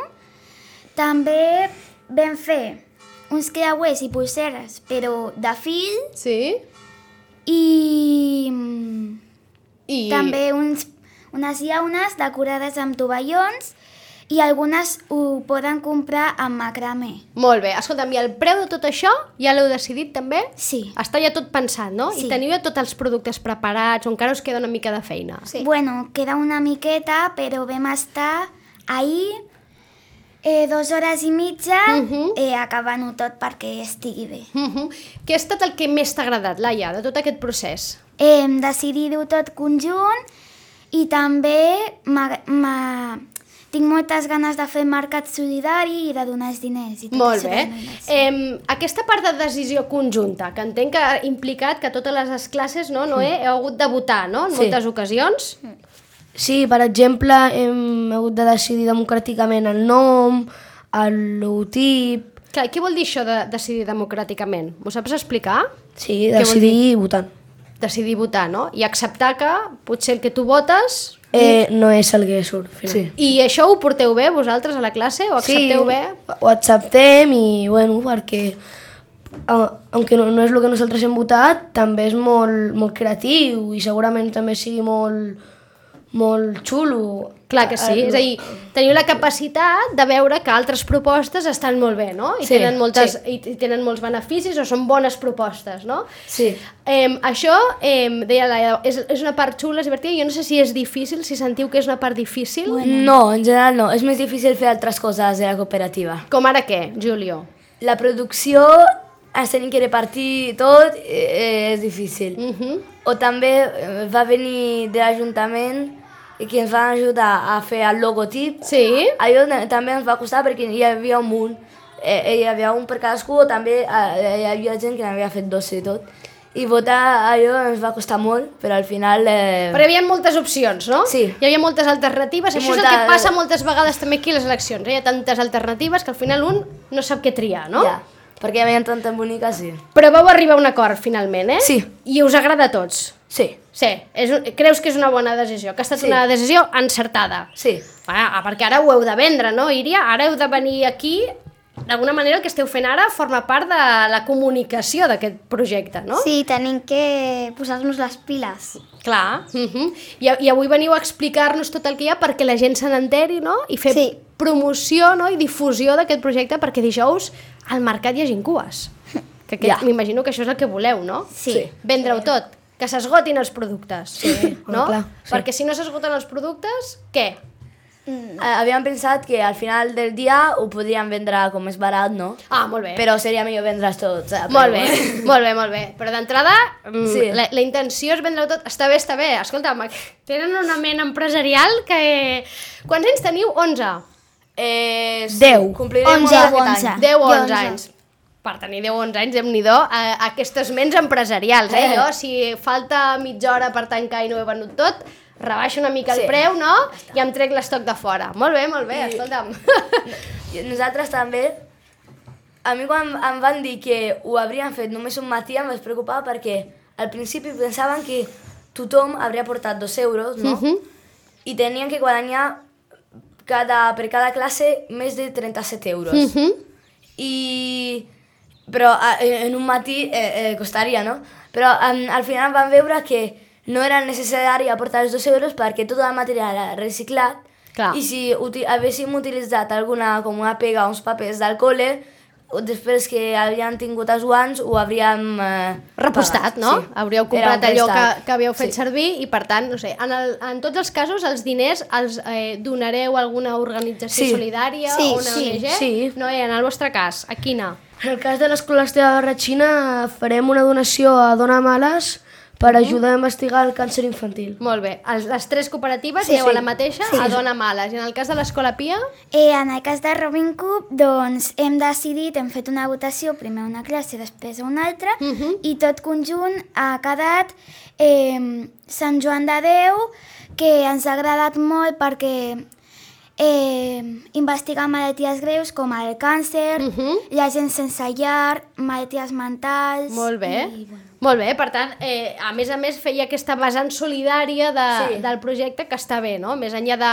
Speaker 8: També vam fer uns creuers i polseres, però de fil
Speaker 2: Sí?
Speaker 8: i, mm,
Speaker 2: I...
Speaker 8: també uns, unes llaunes decorades amb tovallons i algunes ho poden comprar amb macramé.
Speaker 2: Molt bé, escolta'm, i el preu de tot això ja l'heu decidit també?
Speaker 8: Sí.
Speaker 2: Està ja tot pensat, no? I
Speaker 8: Sí.
Speaker 2: teniu ja tots els productes preparats, o encara us queda una mica de feina?
Speaker 8: Sí. Bueno, queda una miqueta, però vam estar ahir eh, dues hores i mitja
Speaker 2: Mhm.
Speaker 8: eh, acabant-ho tot perquè estigui bé.
Speaker 2: Mhm. Què ha estat el que més t'ha agradat, Laia, de tot aquest procés?
Speaker 8: Hem decidit-ho tot conjunt i també m'ha- m'ha- tinc moltes ganes de fer mercat solidari i de donar els diners. I tot
Speaker 2: Molt
Speaker 8: això
Speaker 2: bé.
Speaker 8: de donar els-
Speaker 2: Eh, aquesta part de decisió conjunta, que entenc que ha implicat que totes les classes, no, Noé, heu hagut de votar, no?, en
Speaker 11: Sí.
Speaker 2: moltes ocasions.
Speaker 11: Sí, per exemple, hem hagut de decidir democràticament el nom, el logotip...
Speaker 2: Clar, què vol dir això de decidir democràticament? M'ho saps explicar?
Speaker 11: Sí,
Speaker 2: vol
Speaker 11: decidir votant.
Speaker 2: Decidir votar, no? I acceptar que potser el que tu votes...
Speaker 11: Eh, no és el que surt, al final.
Speaker 2: I això ho porteu bé vosaltres a la classe? Ho accepteu bé?
Speaker 11: ho acceptem i, bueno, perquè eh, aunque no, no és el que nosaltres hem votat, també és molt, molt creatiu i segurament també sigui molt, molt xulo.
Speaker 2: Clar que
Speaker 11: Ah,
Speaker 2: sí, és a dir, teniu la capacitat de veure que altres propostes estan molt bé, no? I,
Speaker 11: Sí,
Speaker 2: tenen, moltes, i, i tenen molts beneficis o són bones propostes, no?
Speaker 11: Sí.
Speaker 2: Eh, això, eh, deia la Laia, és, és una part xula, és divertida, jo no sé si és difícil, si sentiu que és una part difícil.
Speaker 10: No, en general no. És més difícil fer altres coses de la cooperativa.
Speaker 2: Com ara què, Julio?
Speaker 10: La producció, ens tenim que repartir tot, eh, eh, és difícil.
Speaker 2: Uh -huh.
Speaker 10: O també eh, va venir de l'Ajuntament i que ens va ajudar a fer el logotip.
Speaker 2: Sí?
Speaker 10: Allò na- també ens va costar perquè hi havia un munt. Eh, eh, hi havia un per cadascú, o també eh, hi havia gent que n'havia fet dos i tot. I votar allò ens va costar molt, però al final... Eh...
Speaker 2: Però hi havia moltes opcions, no?
Speaker 10: Sí.
Speaker 2: Hi havia moltes alternatives.
Speaker 10: I
Speaker 2: Això és el
Speaker 10: molta-
Speaker 2: que passa moltes vegades també aquí a les eleccions. eh? Hi ha tantes alternatives que al final un no sap què triar, no?
Speaker 10: Ja. perquè ja veien tant tan bonica, sí.
Speaker 2: Però vau arribar a un acord, finalment, eh?
Speaker 10: Sí.
Speaker 2: I us agrada a tots?
Speaker 10: Sí,
Speaker 2: Sí, és, un- creus que és una bona decisió, que ha estat sí. una decisió encertada.
Speaker 10: sí.
Speaker 2: Ah, perquè ara ho heu de vendre, no, Iria? Ara heu de venir aquí... D'alguna manera el que esteu fent ara forma part de la comunicació d'aquest projecte, no?
Speaker 9: Sí, tenim que posar-nos les piles.
Speaker 2: Clar. Uh -huh. I, a- I avui veniu a explicar-nos tot el que hi ha perquè la gent se n'enteri, no? I fer
Speaker 9: Sí.
Speaker 2: promoció no? i difusió d'aquest projecte perquè dijous al mercat hi hagin cues. Que aquest, ja. M'imagino que això és el que voleu, no?
Speaker 9: Sí.
Speaker 2: Vendre-ho tot. Que s'esgotin els productes. Sí, no?
Speaker 11: clar, sí.
Speaker 2: Perquè si no s'esgoten els productes, què?
Speaker 10: Eh, Havíem pensat que al final del dia ho podríem vendre com més barat, no?
Speaker 2: Ah, molt bé.
Speaker 10: Però seria millor vendre's tots. Eh?
Speaker 2: Molt bé, molt bé, molt bé. Però d'entrada, sí.
Speaker 10: Sí.
Speaker 2: la, la intenció és vendre-ho tot. Està bé, està bé. Escolta'm, tenen una ment empresarial que... eh, Quants anys teniu? 11.
Speaker 10: Eh, sí,
Speaker 11: Deu.
Speaker 9: 11,
Speaker 10: Complirem molt aquest
Speaker 9: 11.
Speaker 10: any.
Speaker 2: 10 o 11
Speaker 9: 11.
Speaker 2: anys. Per tenir 10 o 11 anys, déu nhi eh, aquestes ments empresarials, eh? Jo, si falta mitja hora per tancar i no ho he venut tot, rebaixo una mica el
Speaker 10: Sí.
Speaker 2: preu, no? I em trec l'estoc de fora. Molt bé, molt bé, escolta'm.
Speaker 10: I Nosaltres també, a mi quan em van dir que ho haurien fet només un matí em vaig preocupar perquè al principi pensaven que tothom hauria portat dos euros, no? I tenien que guanyar cada, per cada classe més de 37 euros.
Speaker 2: Mhm.
Speaker 10: I... Però a- eh, en un matí eh, eh, costaria, no? Però em, al final vam veure que no era necessari aportar els dos euros perquè tot el material era reciclat
Speaker 2: Clar.
Speaker 10: i si uti haguéssim utilitzat alguna com una pega o uns papers del col·le, o després que havien tingut els guants ho hauríem... Eh,
Speaker 2: repostat,
Speaker 10: pagat,
Speaker 2: no?
Speaker 10: Sí.
Speaker 2: Hauríeu
Speaker 10: Era un
Speaker 2: comprat allò que,
Speaker 10: préstec.
Speaker 2: que havíeu fet sí. servir i, per tant, no sé, en, el, en tots els casos els diners els eh, donareu a alguna organització
Speaker 11: Sí.
Speaker 2: solidària
Speaker 9: Sí,
Speaker 2: o una
Speaker 9: sí,
Speaker 2: ONG?
Speaker 11: sí.
Speaker 2: No, eh, en el vostre cas, a quina?
Speaker 11: En el cas de l'Escola Esteve de Ratxina farem una donació a Dona Males per
Speaker 10: Mm.
Speaker 11: ajudar a investigar el càncer infantil.
Speaker 2: Molt bé. Els, les tres cooperatives
Speaker 9: Sí,
Speaker 2: sí, aneu
Speaker 9: sí.
Speaker 2: a la mateixa, sí. a Dona Males. I en el cas de l'Escola Pia?
Speaker 9: Eh, en el cas de Robin Cup, doncs hem decidit, hem fet una votació, primer una classe, després una altra, i tot conjunt ha quedat eh, Sant Joan de Déu, que ens ha agradat molt perquè eh, investiga malalties greus com el càncer, la gent sense llar, malalties mentals...
Speaker 2: Molt bé. Molt bé, per tant, eh, a més a més feia aquesta vessant solidària de, sí. del projecte que està bé, no? Més enllà de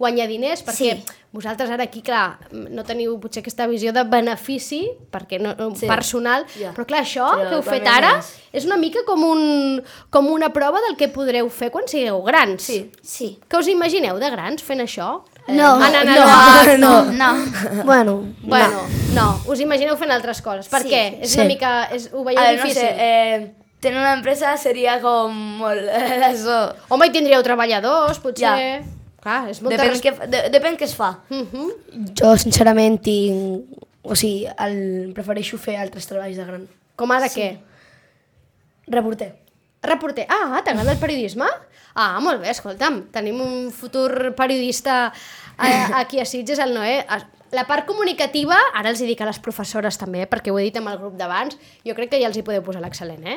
Speaker 2: guanyar diners, perquè
Speaker 9: Sí.
Speaker 2: sí. vosaltres ara aquí, clar, no teniu potser aquesta visió de benefici, perquè no, no sí. personal,
Speaker 10: Ja.
Speaker 2: però clar, això
Speaker 10: Però
Speaker 2: que heu fet
Speaker 10: guanyar
Speaker 2: ara
Speaker 10: més.
Speaker 2: és una mica com, un, com una prova del que podreu fer quan sigueu grans.
Speaker 10: Sí.
Speaker 9: Sí.
Speaker 2: Que us imagineu de grans fent això? Eh,
Speaker 9: No,
Speaker 2: anant a
Speaker 9: no,
Speaker 2: la-
Speaker 9: no, no.
Speaker 11: Bueno,
Speaker 2: Bueno, no. us imagineu fent altres coses. Per
Speaker 9: Sí.
Speaker 2: què? És una
Speaker 11: Sí.
Speaker 2: mica... És, ho veieu
Speaker 10: A veure, no
Speaker 2: difícil?
Speaker 10: sé, eh, tenir una empresa seria com molt... Això.
Speaker 2: Home, hi tindríeu treballadors, potser...
Speaker 10: Ja.
Speaker 2: Clar, és molta...
Speaker 10: Depèn, que, de, depèn què es fa.
Speaker 11: Mm.
Speaker 2: Uh -huh.
Speaker 11: jo sincerament tinc... O sigui, el, prefereixo fer altres treballs de gran.
Speaker 2: Com ara sí. què?
Speaker 11: Reporter.
Speaker 2: Reporter. Ah, t'agrada el periodisme? Ah, molt bé, escolta'm. Tenim un futur periodista eh, aquí a Sitges, el Noé. Es- La part comunicativa, ara els hi dic a les professores també, perquè ho he dit amb el grup d'abans, jo crec que ja els hi podeu posar l'excel·lent, eh?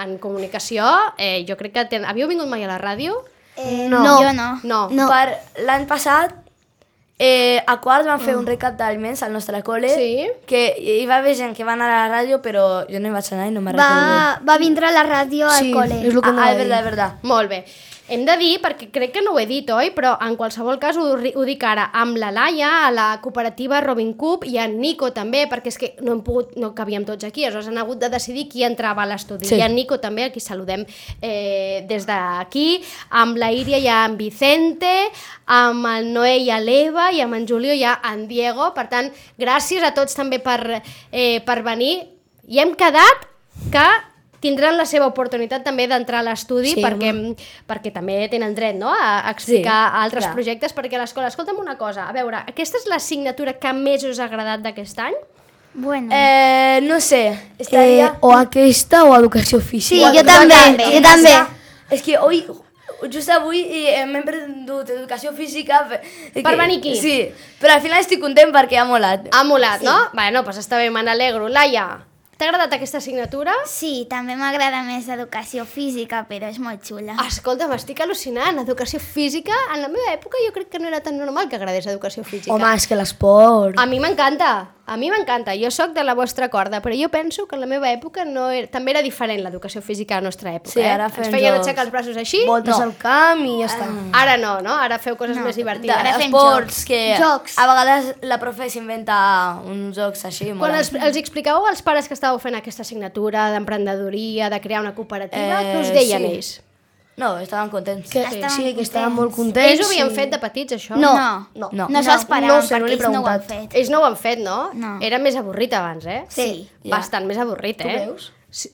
Speaker 2: En comunicació, eh, jo crec que... Ten... Havíeu vingut mai a la ràdio?
Speaker 9: Eh, no. no. Jo no.
Speaker 2: No.
Speaker 9: No.
Speaker 10: Per l'any passat, eh, a quarts vam
Speaker 11: Mm.
Speaker 10: fer un recap d'aliments al nostre col·le,
Speaker 2: Sí.
Speaker 10: que hi va haver gent que va anar a la ràdio, però jo no hi vaig anar i no me'n recordo.
Speaker 9: Eh, Va, va vindre a la ràdio al col·le.
Speaker 11: és el que
Speaker 10: Ah,
Speaker 11: anava
Speaker 10: és
Speaker 11: a dir.
Speaker 10: verdad, és verdad.
Speaker 2: Molt bé. Hem de dir, perquè crec que no ho he dit, oi? Però en qualsevol cas ho, ri- ho dic ara, amb la Laia, a la cooperativa Robin Cup i en Nico també, perquè és que no hem pogut, no cabíem tots aquí, aleshores han hagut de decidir qui entrava a l'estudi.
Speaker 11: Sí.
Speaker 2: Sí. I en Nico també, aquí saludem eh, des d'aquí, amb la Iria hi ha en Vicente, amb el Noé hi ha l'Eva i amb en Julio hi ha en Diego. Per tant, gràcies a tots també per, eh, per venir. I hem quedat que tindran la seva oportunitat també d'entrar a l'estudi sí, perquè, perquè també tenen dret no? a explicar sí, altres clar. projectes perquè a l'escola, escolta'm una cosa, a veure, aquesta és l'assignatura que més us ha agradat d'aquest any?
Speaker 9: Bueno.
Speaker 10: Eh, no sé,
Speaker 11: Eh,
Speaker 10: estaria...
Speaker 11: o aquesta o educació física.
Speaker 9: Sí, jo també, jo també.
Speaker 10: És que avui, just avui eh, m'he perdut educació física... Per,
Speaker 2: Per venir aquí.
Speaker 10: Sí, però al final estic content perquè ha molat.
Speaker 9: Ah,
Speaker 2: Ha molat, sí. no? Bueno, doncs està bé, me n'alegro. Laia, t'ha agradat aquesta assignatura?
Speaker 9: Sí, també m'agrada més educació física, però és molt xula.
Speaker 2: Escolta, m'estic Ah. al·lucinant. Educació física, en la meva època jo crec que no era tan normal que agradés educació física. Ah,
Speaker 11: Home, és que l'esport...
Speaker 2: A mi m'encanta. A mi m'encanta, jo sóc de la vostra corda, però jo penso que en la meva època no era... també era diferent l'educació física a la nostra època.
Speaker 10: Sí,
Speaker 2: eh?
Speaker 10: ara
Speaker 2: Ens
Speaker 10: feien
Speaker 2: feien
Speaker 10: jocs.
Speaker 2: aixecar els braços així?
Speaker 11: Voltes
Speaker 2: no. Ah.
Speaker 11: al camp i ja està.
Speaker 2: Ara no, no? Ara feu coses no, més divertides.
Speaker 10: de,
Speaker 2: Ara fem
Speaker 10: esports, que
Speaker 9: Jocs.
Speaker 10: a vegades la profe s'inventa uns jocs així.
Speaker 2: Quan
Speaker 10: molats.
Speaker 2: els, els explicàveu als pares que estàveu fent aquesta assignatura d'emprenedoria, de crear una cooperativa, eh,
Speaker 10: Eh,
Speaker 2: què us deien
Speaker 10: sí.
Speaker 2: ells?
Speaker 10: No, estaven contents.
Speaker 11: Que, eh,
Speaker 9: Estaven
Speaker 11: sí, que estaven molt contents.
Speaker 2: Ells ho havien
Speaker 11: i-
Speaker 2: fet de petits, això?
Speaker 9: No,
Speaker 10: No.
Speaker 9: no,
Speaker 10: No.
Speaker 9: no s'ho esperàvem,
Speaker 11: No ho sé, no
Speaker 9: perquè
Speaker 11: l'he
Speaker 9: ells no ho han
Speaker 11: preguntat.
Speaker 9: fet.
Speaker 2: Ells no ho han fet, no?
Speaker 9: No.
Speaker 2: Era més avorrit abans, eh?
Speaker 9: Sí.
Speaker 10: Ja.
Speaker 2: Bastant més avorrit, eh?
Speaker 11: veus?
Speaker 2: Sí.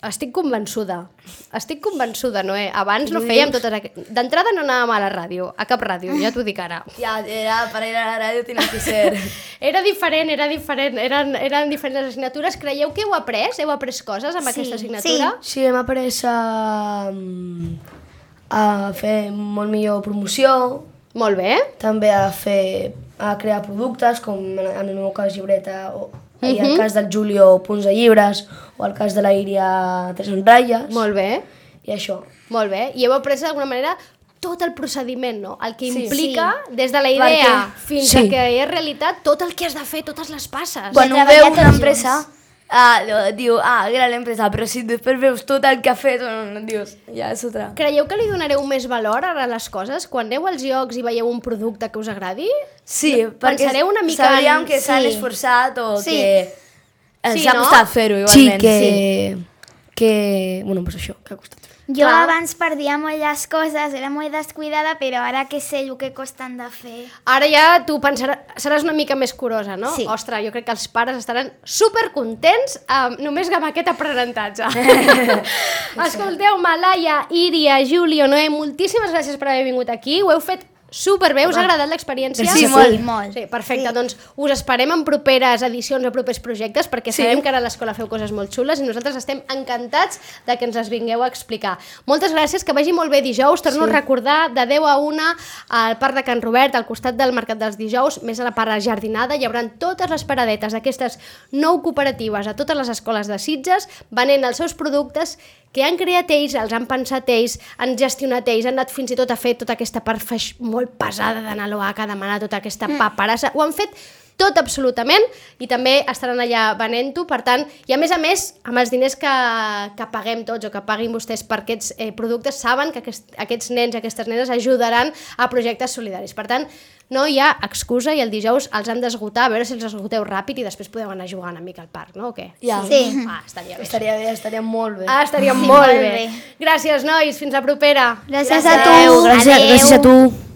Speaker 2: Estic convençuda. Estic convençuda, Noé. Abans no fèiem totes aquestes... D'entrada no anàvem a la ràdio, a cap ràdio, ja t'ho dic ara.
Speaker 10: Ja, era para ir a la radio tienes que ser.
Speaker 2: Era diferent, era diferent. Eren, eren diferents les assignatures. Creieu que heu après? Heu après coses amb aquesta assignatura?
Speaker 11: Sí, hem après a, a fer molt millor promoció,
Speaker 2: Molt bé.
Speaker 11: també a fer a crear productes, com en en el meu cas llibreta, o, i en
Speaker 2: Mhm.
Speaker 11: el cas del Julio punts de llibres, o el cas de la Iria tres en ratlles,
Speaker 2: Molt bé.
Speaker 11: i això.
Speaker 2: Molt bé. I heu après d'alguna manera tot el procediment, no? El que implica, des de la idea fins
Speaker 11: Sí.
Speaker 2: a que és realitat, tot el que has de fer, totes les passes.
Speaker 10: Quan ho
Speaker 9: treballar
Speaker 10: veu
Speaker 9: tots
Speaker 10: una
Speaker 9: junts.
Speaker 10: empresa, ah, lo- diu, ah, gran empresa, però si després veus tot el que ha fet, bueno, dius, ja és otra.
Speaker 2: Creieu que li donareu més valor ara a les coses? Quan aneu als llocs i veieu un producte que us agradi?
Speaker 10: Sí, perquè
Speaker 2: Pensareu una mica en-
Speaker 10: sabríem que s'han
Speaker 2: sí.
Speaker 10: esforçat o
Speaker 9: Sí.
Speaker 10: que ens
Speaker 2: Sí,
Speaker 10: ha
Speaker 2: no?
Speaker 10: costat fer-ho
Speaker 11: Sí,
Speaker 10: igualment.
Speaker 11: que... eh, que bueno, pues això, que ha costat.
Speaker 9: Jo Clar. abans perdia molt les coses, era molt descuidada, però ara que sé el que costen de fer...
Speaker 2: Ara ja tu pensaràs, seràs una mica més curosa, no?
Speaker 9: Sí.
Speaker 2: Ostres, jo crec que els pares estaran supercontents amb, només amb aquest aprenentatge. Escolteu, Malaya, Iria, Julio, Noé, moltíssimes gràcies per haver vingut aquí. Ho heu fet superbé, us ha agradat l'experiència?
Speaker 9: Sí, molt. Sí, molt.
Speaker 2: Sí, perfecte, doncs us esperem en properes edicions o propers projectes perquè sí. sabem que ara a l'escola feu coses molt xules i nosaltres estem encantats de que ens les vingueu a explicar. Moltes gràcies, que vagi molt bé dijous. Torno sí. a recordar de 10 a 1 al Parc de Can Robert, al costat del Mercat dels Dijous, més a la part jardinada, hi haurà totes les paradetes d'aquestes nou cooperatives a totes les escoles de Sitges venent els seus productes que han creat ells, els han pensat ells, han gestionat ells, han anat fins i tot a fer tota aquesta part feix- molt pesada d'anar a l'OACA, demanar tota aquesta paperassa, ho han fet tot absolutament i també estaran allà venent-ho, per tant, i a més a més, amb els diners que, que paguem tots o que paguin vostès per aquests eh, productes, saben que aquest, aquests nens, aquestes nenes ajudaran a projectes solidaris. Per tant, no hi ha excusa i el dijous els han d'esgotar, a veure si els esgoteu ràpid i després podeu anar a jugar una mica al parc, no? O què?
Speaker 11: Ja,
Speaker 9: Sí.
Speaker 2: Ah, estaria bé.
Speaker 11: estaria bé, estaria molt bé.
Speaker 2: Ah, estaria sí, molt,
Speaker 9: molt
Speaker 2: bé.
Speaker 9: bé.
Speaker 2: Gràcies, nois. Fins la propera.
Speaker 9: Gràcies, a tu.
Speaker 11: Adeu, gràcies,
Speaker 9: Adeu.
Speaker 11: gràcies a tu.